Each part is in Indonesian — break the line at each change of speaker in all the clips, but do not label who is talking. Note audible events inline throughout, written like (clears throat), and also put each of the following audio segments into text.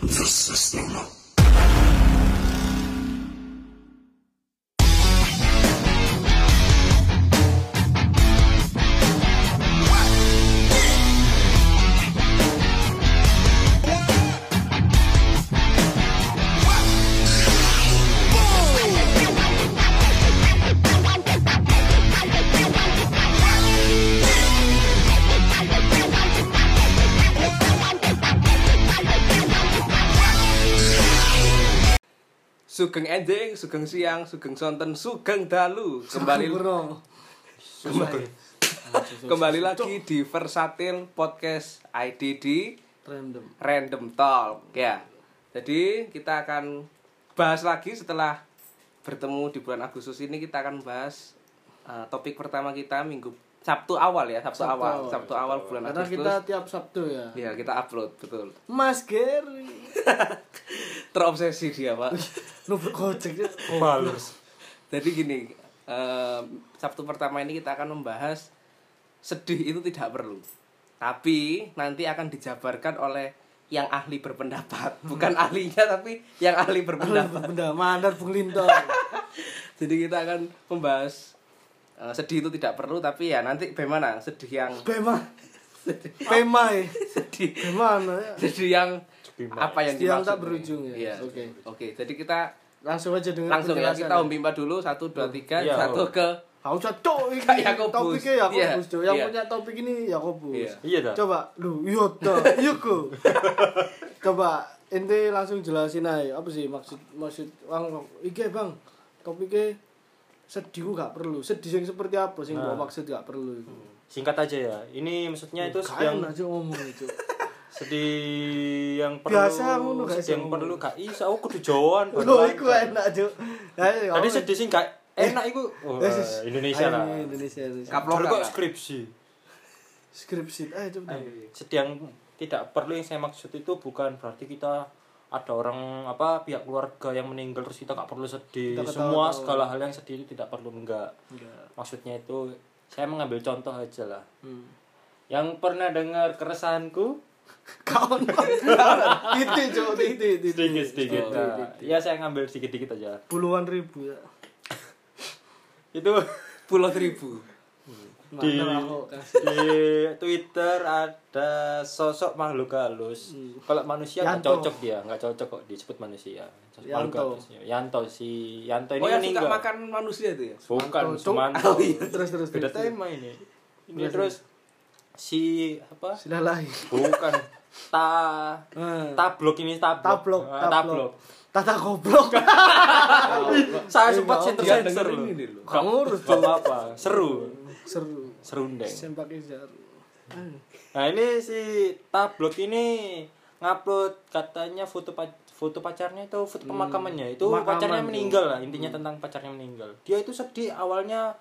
the system.
Sugeng Ending, Sugeng Siang, Sugeng Sonten, Sugeng Dalu kembali kembali, kembali lagi di Versatil Podcast ID di
random
Random Talk ya. Jadi kita akan bahas lagi setelah bertemu di bulan Agustus ini kita akan bahas eh, topik pertama kita minggu Sabtu awal ya Sabtu, awal Sabtu awal bulan
karena
Agustus.
kita tiap Sabtu ya
Ya kita upload betul. (laughs)
Mas Gary
Terobsesi dia pak.
nomor gojek
(laughs)
Balus.
Jadi gini, eh, Sabtu pertama ini kita akan membahas sedih itu tidak perlu. Tapi nanti akan dijabarkan oleh yang ahli berpendapat, (laughs) bukan ahlinya tapi yang ahli
(laughs)
berpendapat.
benda mandar Bung Linto
Jadi kita akan membahas eh, sedih itu tidak perlu tapi ya nanti bagaimana sedih yang (laughs)
Bema Bema ya
sedih
Bema ya
sedih yang apa yang
Sedih yang
dimaksud
tak
ini?
berujung ya?
Iya. Oke.
Oke.
jadi kita
langsung aja dengan
langsung ya
penjelasan
kita umbi empat dulu satu dua tiga
Iya.
satu ke
Aku usah
(laughs)
cok
Kak
ini
Yakobus.
topiknya Yakobus
Iya.
cok. Yang
Iya.
punya topik ini Yakobus.
Iya.
Iya, dah.
Coba lu iya toh. Iya
(laughs)
ku. Coba ente langsung jelasin aja apa sih maksud maksud wang wang- iki Bang. Topiknya sedih ku gak perlu. Sedih yang seperti apa sih gua maksud gak perlu iku.
Singkat aja ya. Ini maksudnya itu sedih yang
Kayak aja ngomong
(laughs)
itu.
sedih yang perlu.
Biasa ngono, guys,
sedih yang
ngono.
perlu gak iso aku kudu jawan.
Lho iku enak Ya, cok. Ayo, ngomong.
Tadi sedih sih gak enak iku. Wah,
Yesus.
Indonesia
Eh, Ayo,
lah.
Indonesia. Indonesia.
Kap-
Kalau
Kaplokan
kok
lah.
skripsi.
Skripsi. Ayo coba.
Sedih yang tidak perlu yang saya maksud itu bukan berarti kita ada orang apa pihak keluarga yang meninggal terus kita gak perlu sedih.
Kita ketawa-tawa.
Semua segala hal yang sedih itu tidak perlu enggak.
Enggak.
Maksudnya itu saya mengambil contoh aja lah.
Hmm.
Yang pernah dengar keresahanku
Kawan. Titik cok, titik, titik.
sedikit sedikit nah, ya saya ngambil sedikit sedikit aja
Puluhan ribu ya.
itu
pulau ribu.
di
Mantap aku kasih.
di Twitter ada sosok makhluk halus kalau manusia nggak
Yanto.
cocok dia nggak cocok kok disebut manusia Sosok
Yanto.
makhluk halus Ya, Yanto si Yanto ini kan
Oh yang
meninggal
suka makan manusia itu ya?
bukan
Yanto, Cuk.
Sumanto
Oh, iya. Terus, terus,
beda
terus.
tema ini ini terus si apa
Sudah lain.
bukan ta
Eh.
tablok ini tablok
Tablok,
Ah, tablok.
tablok. Tata goblok.
saya sempat
Iya,
sensor
Dia
sensor
dengerin ini loh.
Gak ngurus,
apa seru
Seru.
serundeng
Sempak jarum. Eh,
Nah ini si tablok ini ngupload katanya foto pa- foto pacarnya itu foto pemakamannya itu
Hmm, pemakaman
pacarnya
tuh. Hmm.
meninggal lah intinya tentang pacarnya meninggal dia itu sedih awalnya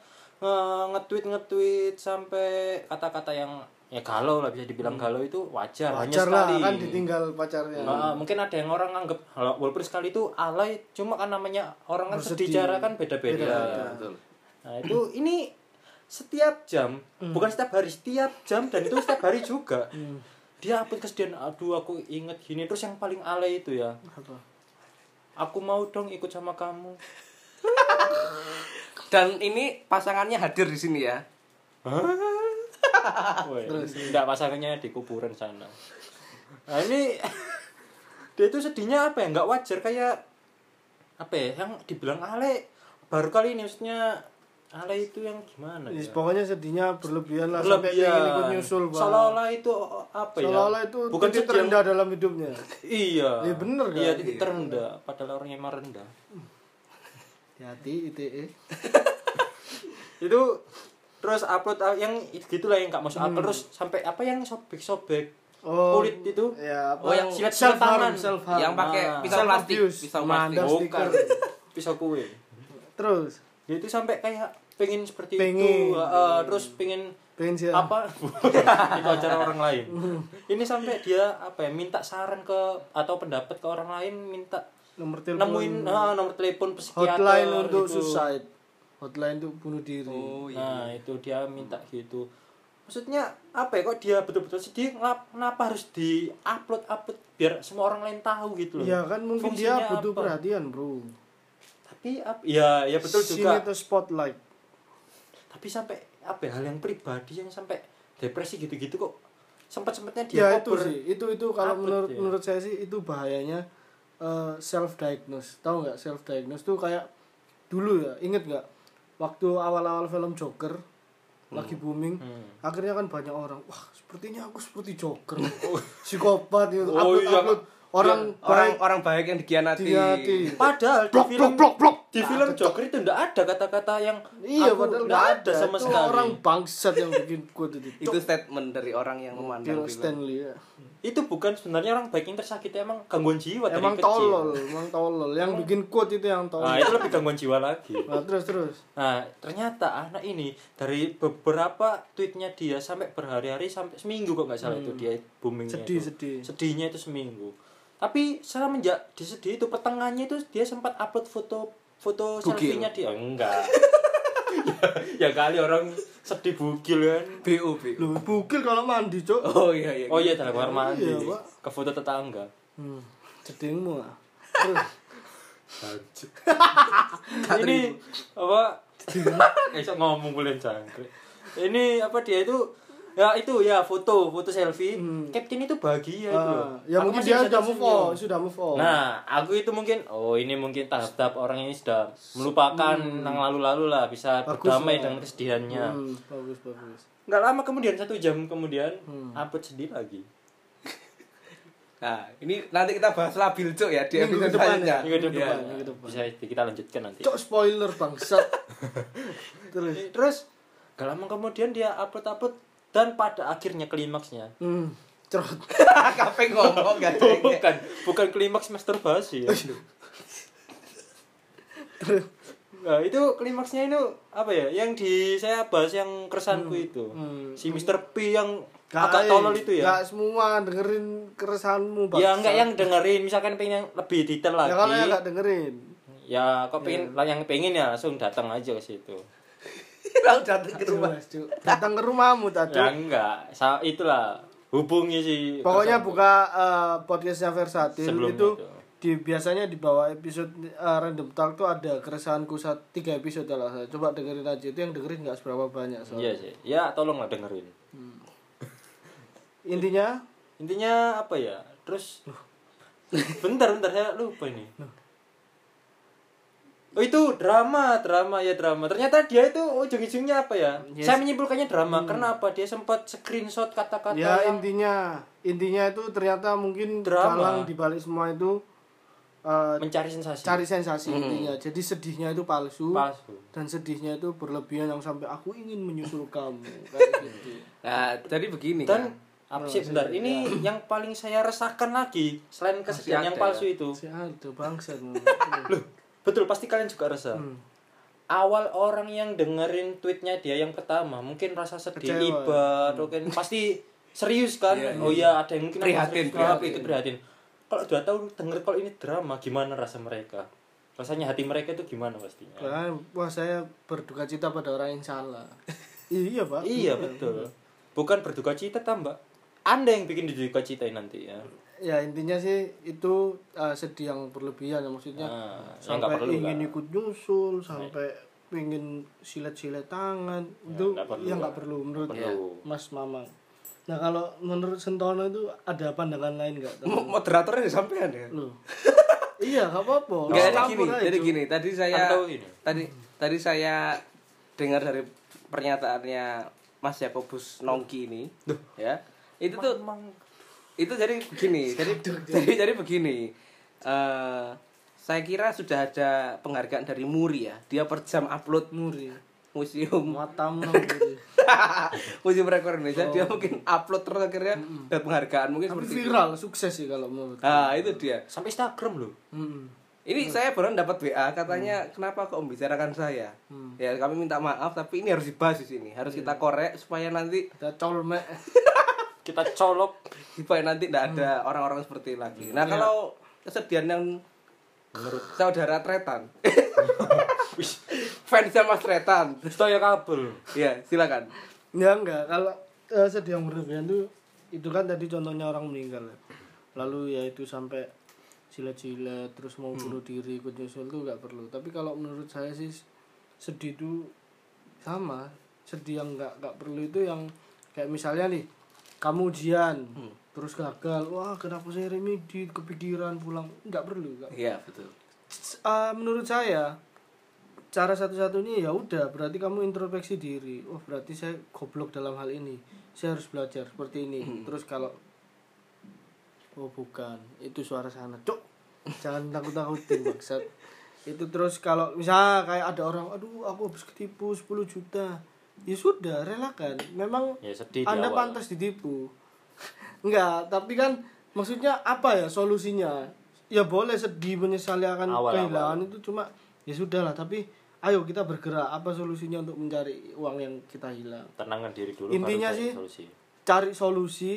eh, nge-tweet nge-tweet sampai kata-kata yang ya galau lah bisa dibilang galau itu wajar, hanya
Pacar Hmm. lah
sekali
kan ditinggal pacarnya.
Nah, mungkin ada yang orang anggap "Lah, walaupun sekali itu alay cuma kan namanya orang kan sedih,
Bersedih.
jarak kan beda-beda
Betul.
Nah itu ini setiap jam,
Hmm.
bukan setiap hari, setiap jam dan itu setiap hari juga. Dia upload kesedihan, aduh aku inget gini. Terus yang paling alay itu ya,
Apa?
aku mau dong ikut sama
(laughs)
kamu.
Dan ini pasangannya hadir di sini ya.
Weh, enggak pasangannya di kuburan sana. Nah ini, (laughs) dia itu sedihnya apa ya, nggak wajar kayak, apa ya, yang dibilang alay. Baru kali ini maksudnya, alay itu yang gimana
Ya,
ya?
pokoknya sedihnya berlebihan lah sampai
Berlebihan.
pengen ikut nyusul Bang.
Seolah-olah itu apa ya?
Seolah-olah itu
bukan
titik
sedih yang-
terendah dalam hidupnya.
Iya.
Iya, bener kan?
Iya titik terendah. Padahal orangnya emang rendah.
Hati eh. ITE.
Itu terus upload ah, yang gitulah yang nggak masuk
Hmm.
upload terus sampai apa yang sobek-sobek
Oh.
kulit itu
Ya, apa?
Oh, yang
silat-silat tangan.
self harm.
Yang pakai
Ah.
pisau plastik,
Self-abuse.
pisau plastik.
Mandang.
bukan
stiker.
(laughs) pisau kue.
Terus
Dia itu sampai kayak pengen seperti
Pengen. Iya.
itu, ah, ah, terus pengen
pengen sih. (laughs)
apa itu acara orang lain
Hmm.
ini sampai dia apa ya minta saran ke atau pendapat ke orang lain minta
Nomor telepon.
nemuin ah, nomor telepon psikiater
hotline untuk
gitu.
suicide. Hotline untuk bunuh diri.
Oh iya.
Nah, itu dia minta gitu. maksudnya apa ya kok dia betul-betul sedih ngap- kenapa harus di upload upload biar semua orang lain tahu gitu loh
ya kan mungkin
Fungsinya
dia butuh
apa?
perhatian bro
tapi ap- ya ya betul juga
Sini tuh spotlight
tapi sampai apa ya, hal yang pribadi yang sampai depresi gitu-gitu kok sempat sempatnya dia
ya itu
cover.
sih itu itu kalau
upload
menurut
ya.
menurut saya sih itu bahayanya self diagnose tahu nggak self diagnose tuh kayak dulu ya inget nggak waktu awal-awal film Joker lagi booming
Hmm.
akhirnya kan banyak orang wah sepertinya aku seperti Joker
(laughs)
psikopat gitu
Oh,
upload
iya.
upload orang
orang
baik
orang baik yang dikhianati.
dihati
(laughs) padahal di
blok blok
film
blok blok Nah,
di film Joker itu nggak ada kata-kata yang
iya
aku
padahal
nggak
nggak ada
sama
Itu
sekali
orang bangsat yang bikin quote itu
Itu statement dari orang yang memandang
Bill
film.
Stanley ya.
itu bukan sebenarnya orang baik yang tersakiti emang gangguan jiwa
emang
dari kecil
tolol emang tolol yang bikin quote itu yang
nah
tolol
itu lebih gangguan jiwa
(laughs)
lagi
nah, terus terus
nah ternyata anak ini dari beberapa tweetnya dia sampai berhari-hari sampai seminggu kok nggak salah itu dia boomingnya
Hmm. sedih
itu.
sedih
sedihnya itu seminggu tapi semenjak di sedih itu pertengahannya itu dia sempat upload foto foto
Bugil.
selfie-nya dia
(laughs)
enggak ya, ya kali orang sedih bugil kan
BO BO.
Loh, bukil kalau mandi, Cok.
Oh iya iya.
oh iya dalam kamar mandi
Iya, Pak.
ke foto tetangga
Hmm, jedingmu ah. (laughs) Terus
ini apa (laughs) esok ngomong boleh jangkrik ini apa dia itu ya itu ya foto foto selfie captain itu bahagia itu
Hmm. ah, ya
Aku
mungkin
masih
dia
bisa
sudah move
tersenyum.
on, sudah move on.
Nah, aku itu mungkin oh ini mungkin tahap-tahap orang ini sudah melupakan yang lalu-lalu lah bisa
hmm. Bagus
berdamai
lah.
dengan kesedihannya.
Hmm, bagus bagus.
Nggak lama kemudian satu jam kemudian
Hmm.
upload sedih lagi.
Nah, ini nanti kita bahas labil cuk ya di
Minggu
episode
depan
selanjutnya.
ya.
Minggu depan,
Iya, minggu depan.
bisa kita lanjutkan nanti.
Cok spoiler
(laughs)
bangsat. Terus.
Terus nggak lama kemudian dia upload-upload dan pada akhirnya klimaksnya
Hmm, cerot.
(laughs) Kafe ngomong gak ada. (laughs)
bukan bukan klimaks masturbasi ya.
Terus.
Nah, itu klimaksnya itu apa ya? Yang di saya bahas yang keresanku itu.
hmm.
Si Mr. P yang
Guys,
agak tolol itu ya.
Gak semua dengerin keresahanmu, bangsat.
Ya enggak yang dengerin misalkan pengen lebih detail
Ya kalau yang
lagi. Ya,
gak dengerin.
kok pengen lah yang pengen ya langsung datang aja ke situ.
Lalu datang ke rumah.
Jelas, Cuk. Datang ke rumahmu tadi.
Ya enggak, sa itulah hubungi si
Pokoknya buka eh, podcastnya Versatil
Sebelum
itu,
itu.
di biasanya di bawah episode eh, Random Talk tuh ada keresahanku saat tiga episode lah. Coba dengerin aja itu yang dengerin nggak seberapa banyak soalnya.
Iya sih. Ya tolonglah dengerin.
Intinya
Intinya apa ya? Terus (laughs) bentar bentar saya lupa ini. Oh itu drama, drama ya drama. Ternyata dia itu oh, ujung-ujungnya apa ya?
Yes. Hmm.
Saya menyimpulkannya drama. Karena apa? Dia sempat screenshot kata-kata
ya
yang
intinya intinya itu ternyata mungkin
Drama.
dalang di balik semua itu eh,
mencari sensasi.
cari sensasi intinya. Jadi sedihnya itu palsu
palsu.
dan sedihnya itu berlebihan yang sampai aku ingin menyusul kamu kayak gitu.
Nah, jadi begini
Dan
kan.
Iya. Oh,
apa sih bentar ini yang paling saya resahkan lagi selain kesedihan
ada
yang palsu itu.
Si Aldo bangsa
Loh, betul pasti kalian juga resah.
Hmm.
Awal orang yang dengerin tweetnya dia yang pertama mungkin rasa
Kecewa.
sedih
Hmm.
iba atau kan pasti serius kan. Oh iya ada yang mungkin
Prihatin,
prihatin.
prihatin.
itu prihatin. Kalau dua tahun denger kalau ini drama gimana rasa mereka? Rasanya hati mereka itu gimana pastinya?
Bahkan, wah saya berduka cita pada orang yang salah. iya pak.
Iya betul. Bukan berduka cita tambah. Anda yang bikin berduka cita nanti ya.
Ya intinya sih itu eh, sedih yang berlebihan ya, maksudnya
Nah, ya
sampai
nggak perlu
ingin
lah.
ikut nyusul sampai ingin silet-silet tangan itu
nggak perlu
ya
lah.
nggak perlu menurut
Perlu.
Mas Mamang. Nah kalau menurut Sentono itu ada pandangan lain
(laughs)
nggak?
Mo- Moderatornya disampaikan ya.
Loh. iya nggak apa-apa.
Enggak jadi Oh, gini,
Campur aja,
jadi
Cuk.
gini. Tadi saya
Atau ini.
tadi tadi saya dengar dari pernyataannya Mas Yakobus Nongki ini, ya. Itu tuh itu jadi
(laughs)
begini, jadi jadi jadi begini. Eh, saya kira sudah ada penghargaan dari Muri ya. Dia per jam upload
Muri.
Hmm. museum (laughs)
Matamu Muri.
museum rekor Indonesia dia mungkin upload terus akhirnya dapat penghargaan mungkin
Oh. Tapi
seperti itu.
viral sukses sih kalau menurut. Hmm.
Nah, itu dia.
Sampai Instagram loh.
Mm-mm.
Ini saya baru dapat WA katanya kenapa kok membicarakan saya? Ya kami minta maaf tapi ini harus dibahas di sini. Harus kita korek supaya nanti
Kita colmek.
Kita colok (laughs)
supaya nanti tidak ada orang-orang seperti lagi. Nah, kalau kesedihan yang menurut saudara Tretan. Fans sama Tretan.
Terus ya kabel.
Ya, silakan.
Ya enggak, kalau eh, sedih yang berlebihan itu itu kan tadi contohnya orang meninggal ya. lalu ya itu sampai silet-silet terus mau bunuh diri ikut nyusul itu nggak perlu tapi kalau menurut saya sih sedih itu sama sedih yang nggak nggak perlu itu yang kayak misalnya nih kamu ujian terus gagal wah kenapa saya remedi kepikiran pulang nggak perlu nggak
Iya, betul.
Eh, menurut saya cara satu-satunya ya udah berarti kamu introspeksi diri oh berarti saya goblok dalam hal ini saya harus belajar seperti ini terus kalau oh bukan itu suara sana cok jangan takut takutin maksud itu terus kalau misal kayak ada orang aduh aku habis ketipu 10 juta ya sudah relakan memang
ya sedih
anda
di awal.
pantas ditipu. Enggak, tapi kan maksudnya apa ya solusinya? Ya boleh sedih menyesali akan
Awal-awal.
kehilangan itu cuma ya sudah lah, tapi ayo kita bergerak. Apa solusinya untuk mencari uang yang kita hilang?
tenangkan diri dulu
Intinya
baru cari
sih-
solusi
Cari solusi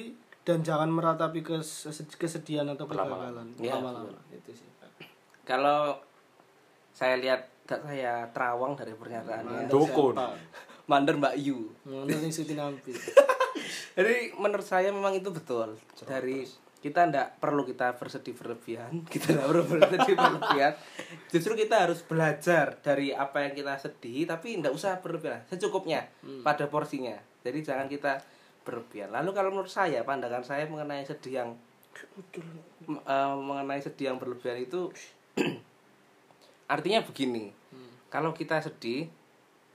dan jangan meratapi kes- kesedihan atau kegagalan
Berlama-lama.
Iya,
lama-lama. Itu sih.
Kalau saya lihat tak saya terawang dari pernyataannya.
Mantap. Dukun.
Siapa?
Mander Mbak Yu.
Mengandung yang Siti Nampi.
Jadi menurut saya memang itu betul. Dari kita ndak perlu kita bersedih berlebihan, (laughs) kita ndak perlu bersedih berlebihan. Justru kita harus belajar dari apa yang kita sedih, tapi ndak usah berlebihan, secukupnya pada porsinya. Jadi jangan kita berlebihan. Lalu kalau menurut saya, pandangan saya mengenai sedih yang eh, mengenai sedih yang berlebihan itu (clears throat) artinya begini.
Hmm.
Kalau kita sedih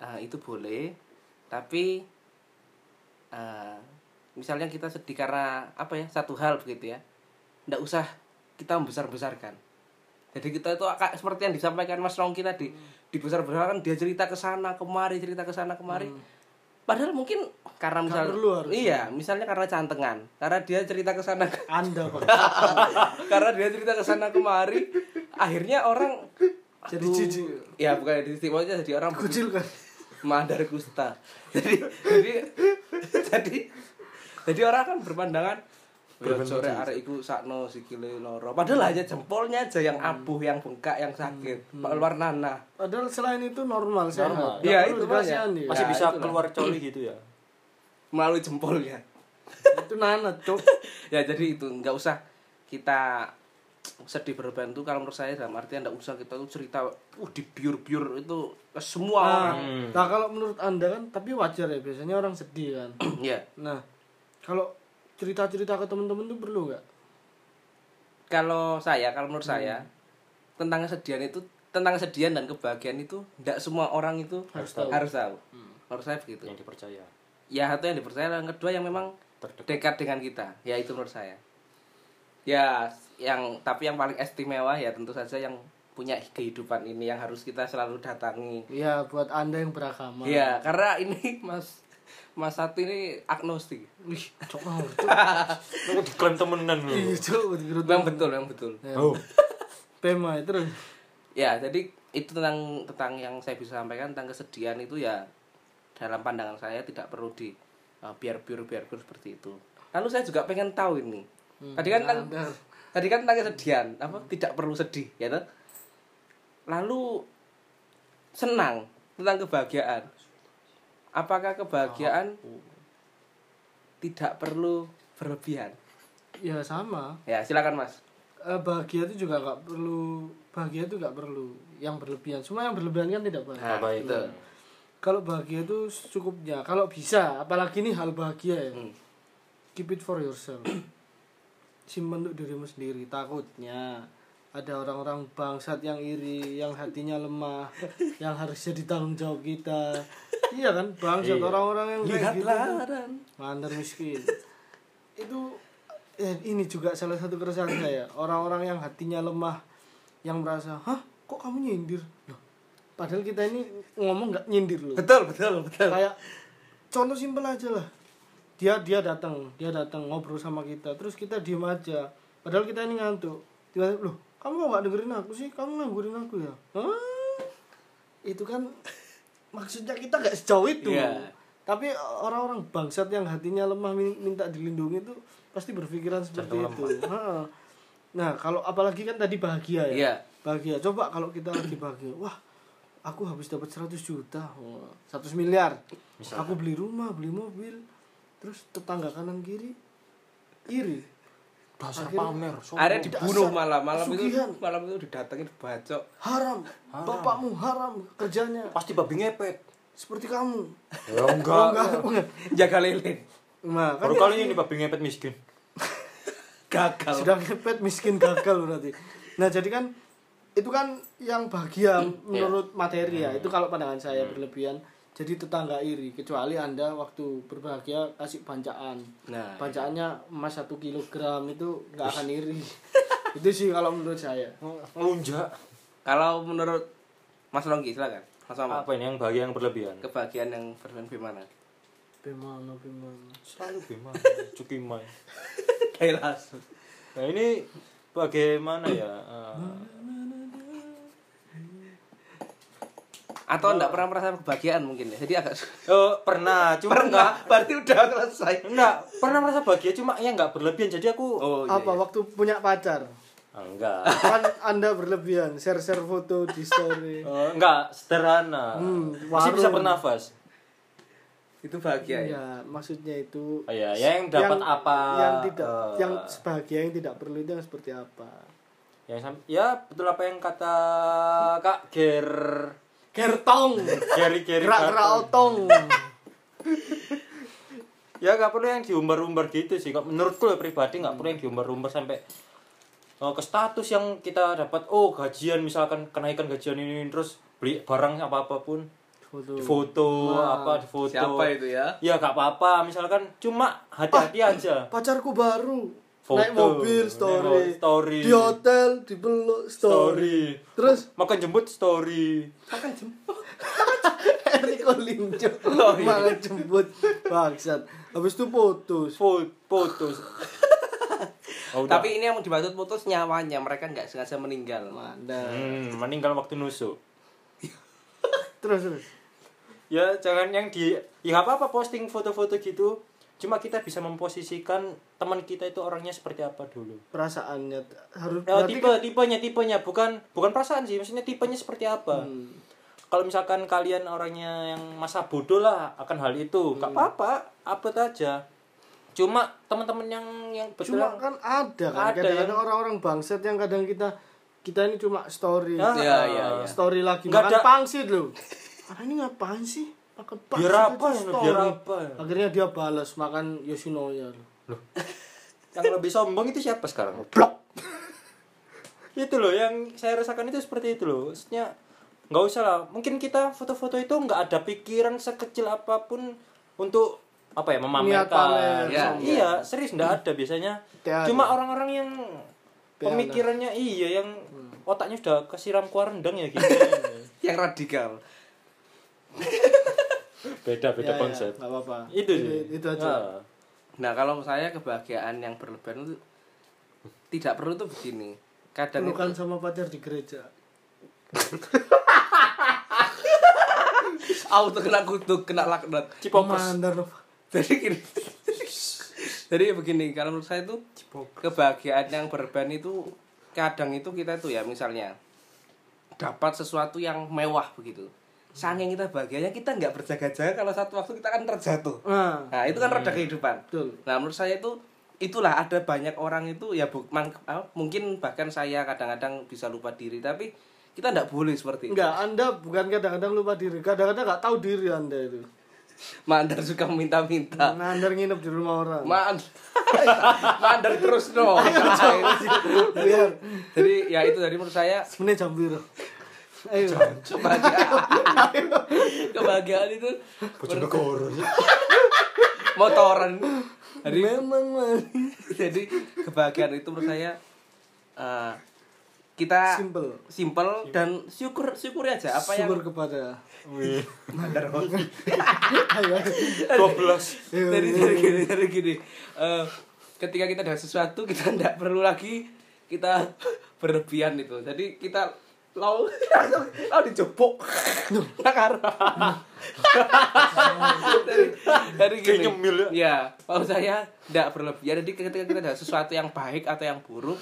eh, itu boleh, tapi Eh, misalnya kita sedih karena apa ya satu hal begitu ya ndak usah kita membesar besarkan jadi kita itu ak- seperti yang disampaikan Mas Rongki tadi
Hmm.
dibesar besarkan dia cerita ke sana kemari cerita ke sana kemari padahal mungkin karena
Hmm. Nggak
misalnya
perlu harusnya.
iya misalnya karena cantengan karena dia cerita ke sana
Anda Pak.
(laughs)
(laughs) karena dia cerita ke sana kemari akhirnya orang
Jadi
aduh,
jijik.
ya bukan jadi jijik maksudnya jadi orang
Kucil kan.
(laughs) Mandar Kusta. Jadi jadi (laughs) jadi jadi orang kan berpandangan "Ya, sore arek iku sakno sikile loro. Padahal hanya jempolnya aja yang
Hmm.
abuh, yang bengkak, yang sakit, warnana.
Padahal selain itu normal sehat.
Normal.
Nggak
Iya,
perlu
itu
dikasihani.
makanya.
masih
Ya,
bisa
itulah.
keluar coli gitu ya
melalui jempolnya.
Itu nanat, Cok.
(laughs) ya jadi itu nggak usah kita sedih berlebihan itu kalau menurut saya dalam artian nggak usah kita tuh cerita uh di biur-biur itu ke semua
Nah,
orang. (clears throat)
nah, kalau menurut Anda kan tapi wajar ya biasanya orang sedih kan.
ya
Nah, kalau cerita-cerita ke teman-teman tuh perlu nggak?
kalau saya kalau menurut saya
Hmm.
tentang kesedihan itu tentang kesedihan dan kebahagiaan itu tidak semua orang itu
Harus tahu. Hmm.
harus tahu menurut saya begitu
yang dipercaya
ya satu yang dipercaya yang kedua yang memang
Terdekat.
dekat dengan kita ya itu menurut saya ya yang tapi yang paling istimewa ya tentu saja yang punya kehidupan ini yang harus kita selalu datangi
Iya, buat Anda yang beragama.
ya karena ini (laughs) mas mas satu ini agnostik
Wih, cok, oh, cok.
Lu diklaim temenan lu
Iya, cok, betul.
yang betul yang betul
oh
Pema Ya. terus.
ya jadi itu tentang tentang yang saya bisa sampaikan tentang kesedihan itu ya dalam pandangan saya tidak perlu di eh, biar biar biar biar seperti itu lalu saya juga pengen tahu ini tadi kan tentang-
benar.
tadi kan tentang kesedihan apa tidak perlu sedih ya toh? lalu senang tentang kebahagiaan apakah kebahagiaan tidak perlu berlebihan
Ya sama.
ya silakan mas
Eh, bahagia itu juga nggak perlu bahagia itu nggak perlu yang berlebihan. Semua yang berlebihan kan tidak baik.
Nah,
apa itu
betul.
Kalau bahagia itu secukupnya. Kalau bisa, apalagi ini hal bahagia ya.
Hmm.
Keep it for yourself. (clears throat) Simpan untuk dirimu sendiri. Takutnya ada orang-orang bangsat yang iri, yang hatinya
(laughs)
lemah, yang harusnya ditanggung jawab kita. Iya kan, bangsat orang-orang yang kayak gitu.
lihatlah
tuh.
dan
Mandar miskin. (laughs) itu eh, ini juga salah satu keresahan saya. Orang-orang yang hatinya lemah, yang merasa, hah, kok kamu nyindir? Loh, Padahal kita ini ngomong nggak nyindir loh
betul betul betul
kayak contoh simpel aja lah dia dia datang dia datang ngobrol sama kita terus kita diem aja padahal kita ini ngantuk tiba-tiba loh kamu kok nggak dengerin aku sih kamu nganggurin aku ya Hah? itu kan (laughs) maksudnya kita nggak sejauh itu
Iya.
tapi orang-orang bangsat yang hatinya lemah min- minta dilindungi itu pasti berpikiran seperti itu Heeh. nah kalau apalagi kan tadi bahagia ya
Iya.
bahagia coba kalau kita lagi bahagia wah aku habis dapat 100 juta Wah, 100 miliar aku beli rumah beli mobil terus tetangga kanan kiri iri
dasar
Akhirnya-
pamer sombong.
Akhirnya dibunuh
Oh, Dasar
malam malam itu
pesugihan.
malam itu didatengin dibacok. (laughs)
haram,
Haram.
bapakmu haram kerjanya
pasti babi ngepet
seperti kamu
ya
Oh,
enggak
enggak. (laughs)
Jaga lilin.
nah kan
baru
dia
kali ini babi ngepet miskin
Gagal.
sudah ngepet miskin gagal berarti nah jadi kan itu kan yang bahagia
Hmm, iya.
menurut materi ya itu kalau pandangan saya berlebihan jadi tetangga iri kecuali anda waktu berbahagia kasih bancaan
Nah,
bancaannya emas satu kilogram itu nggak akan
(laughs)
iri itu sih kalau menurut saya
Oh, ngelunjak
kalau menurut Mas Ronggi silakan. Mas Mamat,
apa ini yang bahagia yang berlebihan
kebahagiaan yang berlebihan gimana?
bimana bimana
selalu bima cukimai
Kayak langsung.
nah ini bagaimana ya eh,
Atau enggak pernah merasa kebahagiaan mungkin ya. Jadi agak
eh, pernah cuma enggak
(laughs) pernah berarti udah selesai.
enggak pernah merasa bahagia cuma ya enggak berlebihan jadi aku Ah,
Oh iya.
apa
iya.
waktu punya pacar
enggak
kan anda berlebihan share share foto di story
Oh,
Eh, enggak sederhana
Hmm,
masih bisa
warung.
bernafas
Itu bahagia ya.
ya maksudnya itu
Ah, ya, ya yang dapat apa
yang tidak
eh,
yang sebahagia yang tidak perlu itu yang seperti apa
yang sam- ya betul apa yang kata kak ger
gertong
geri geri
gerak
Barton.
gerak otong
ya nggak perlu yang diumbar-umbar gitu sih Kok menurutku ya pribadi nggak perlu yang diumbar-umbar sampai eh, ke status yang kita dapat oh gajian misalkan kenaikan gajian ini ini, terus beli barang apa apapun
foto
di (laughs) foto
Wah,
apa di foto
Siapa itu ya?
ya nggak apa-apa misalkan cuma hati-hati
Ah,
aja
pacarku baru
Foto.
naik mobil
Naik
story
mobil, story.
di hotel di peluk story,
story
terus
makan jemput story
Makan
(laughs)
jempol.
Eriko Linjo
Oh, iya.
malah jemput bangsat habis itu putus
foto (laughs) foto Oh, udah.
Tapi ini yang dimaksud putus nyawanya, mereka nggak sengaja meninggal.
Manda.
hmm, meninggal waktu nusuk
terus terus
ya jangan yang di ya nggak apa-apa posting foto-foto gitu cuma kita bisa memposisikan teman kita itu orangnya seperti apa dulu
perasaannya harus
Nah,
berarti kan-
tipe tipenya tipenya bukan bukan perasaan sih maksudnya tipenya seperti apa
Hmm.
kalau misalkan kalian orangnya yang masa bodoh lah akan hal itu nggak
Hmm.
apa-apa upload aja cuma teman-teman yang yang betul
cuma kan ada kan
Ada
kadang-kadang
yang-
orang-orang bangsat yang kadang kita kita ini cuma story
Ah,
Iya, iya, iya.
story lagi
Nggak
makan
ada-
pangsit loh ah, ini ngapain sih makan pangsit
biar
aja
apa ya
story.
biar apa ya?
akhirnya dia balas makan Yoshinoya loh.
yang lebih sombong itu siapa sekarang blok (laughs) itu loh yang saya rasakan itu seperti itu loh maksudnya nggak usah lah mungkin kita foto-foto itu nggak ada pikiran sekecil apapun untuk apa ya
Niat pamer,
memamerkan
Ya,
iya,
sombong.
iya serius nggak ada biasanya
Tiada.
cuma orang-orang yang
Tiada.
pemikirannya iya yang otaknya sudah kesiram kuah rendang ya gitu
Yang radikal.
beda
Ya, ya, nggak apa-apa
itu sih
itu, itu aja
Ah.
Nah kalau saya kebahagiaan yang berlebihan itu tidak perlu tuh begini. Kadang itu-
pelukan sama pacar di gereja
auto kena kutuk, kena laknat.
cipokers
Mandar Nova.
Jadi gini. Jadi begini, kalau menurut saya itu kebahagiaan yang berlebihan itu kadang itu kita itu ya misalnya dapat sesuatu yang mewah begitu. Saking kita bahagianya kita nggak berjaga-jaga kalau satu waktu kita akan terjatuh.
Ah.
nah
Nah, itu kan roda kehidupan.
Betul.
Nah, menurut saya itu itulah ada banyak orang itu ya bu- mang- ah, mungkin bahkan saya kadang-kadang bisa lupa diri tapi kita nggak boleh
(laughs)
seperti itu.
Enggak, Anda bukan kadang-kadang lupa diri, kadang-kadang nggak tahu diri Anda itu.
Mandar suka
Ah.
minta-minta.
Mandar nginep di rumah orang.
Man- (laughs) Mandar terus no.
Biar
Jadi ya itu tadi menurut saya
sebenarnya jam biru. Ayo.
kebahagiaan kebahagiaan itu motoran jadi
Memang manis.
(laughs) jadi kebahagiaan itu menurut saya eh, kita
Simple. Iya.
simple dan syukur syukur aja apa yang
Syukur kepada.
Wih,
Ayo.
Goblos.
dari dari gini dari gini Eh, ketika kita ada sesuatu kita tidak perlu lagi kita (laughs) berlebihan itu jadi kita lau (laughs) lau dijebok nakar dari dari gini
Kayak nyemil ya.
ya kalau saya tidak berlebihan jadi ketika kita ada sesuatu yang baik
Hmm.
atau yang buruk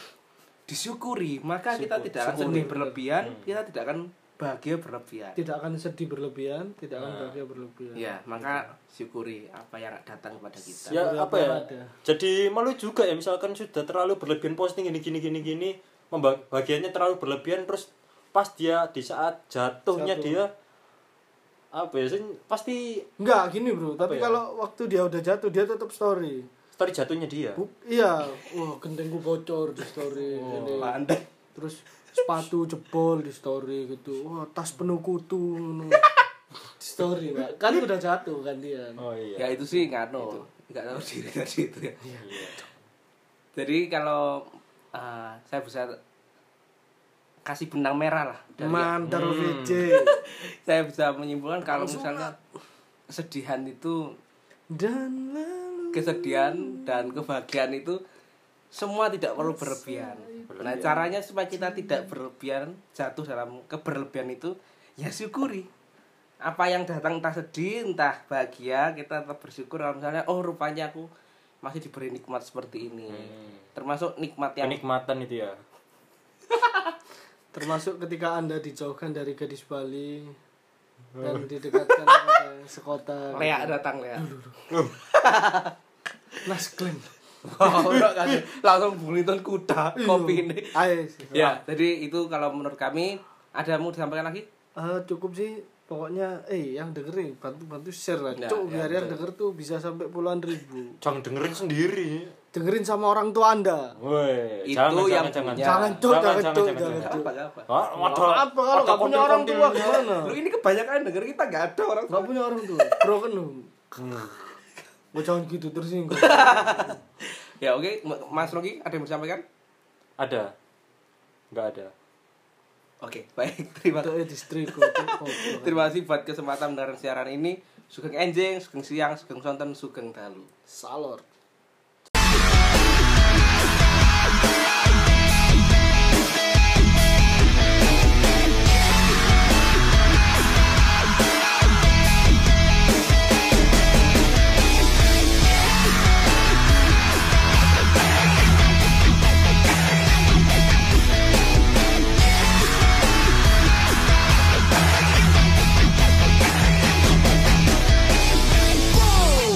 disyukuri maka kita tidak akan sedih berlebihan kita tidak akan bahagia berlebihan.
tidak akan sedih berlebihan tidak akan
Nah.
bahagia berlebihan
Ya, maka syukuri apa yang datang kepada kita.
ya
Beberapa
apa ya
ada.
jadi malu juga ya misalkan sudah terlalu berlebihan posting gini gini gini gini memba- bagiannya terlalu berlebihan terus pas dia di saat jatuhnya
Jatuh.
dia apa ya sih, pasti
enggak gini bro tapi
ya?
kalau waktu dia udah jatuh dia tetap story
story jatuhnya dia
Bu- iya wah gentengku bocor di story ini.
Pandai.
terus sepatu jebol di story gitu wah tas penuh kutu ngono. di story pak kan udah jatuh kan dia
oh iya
Ya itu sih ngano. Enggak tahu diri tadi itu ya. Jadi kalau eh, saya bisa kasih benang merah lah dari
Mantar VJ
(laughs) saya bisa menyimpulkan kalau misalnya kesedihan itu
dan lalu
kesedihan dan kebahagiaan itu semua tidak perlu berlebihan. Nah, caranya supaya kita tidak berlebihan, jatuh dalam keberlebihan itu ya syukuri. Apa yang datang entah sedih, entah bahagia, kita tetap bersyukur kalau misalnya oh rupanya aku masih diberi nikmat seperti ini. Termasuk nikmat yang
kenikmatan itu ya
termasuk ketika anda dijauhkan dari gadis Bali dan didekatkan kepada yang sekota
leak datang leak.
Nas Glen
Wow, (laughs) udah kasih. langsung bunyitan kuda kopi ini.
Ayo,
Ya, jadi itu kalau menurut kami ada mau disampaikan lagi?
Eh, cukup sih pokoknya eh yang dengerin bantu bantu share lah
Ya,
Cuk,
ya,
biar yang denger tuh bisa sampai puluhan ribu
jangan dengerin sendiri
dengerin sama orang tua anda
Woi,
Itu
jangan,
yang
jangan, jangan,
punya.
jangan,
Jangan, Cuk,
jangan,
jangan,
jangan,
Cuk,
jangan,
jangan,
jangan.
Apa apa?
Ah, wadah,
apa kalau
wadah
nggak punya orang tua
kontil-kontil.
gimana
Lu ini kebanyakan denger kita nggak ada orang
nggak punya orang tua broken home mau jangan gitu tersinggung
(laughs) Ya oke, M- Mas Rogi ada yang mau disampaikan?
Ada. Enggak ada.
Oke, baik. (laughs) Terima
itu istriku
Terima kasih buat kesempatan mendengarkan siaran ini. Sugeng enjing, sugeng siang, sugeng sonten, sugeng dalu.
salor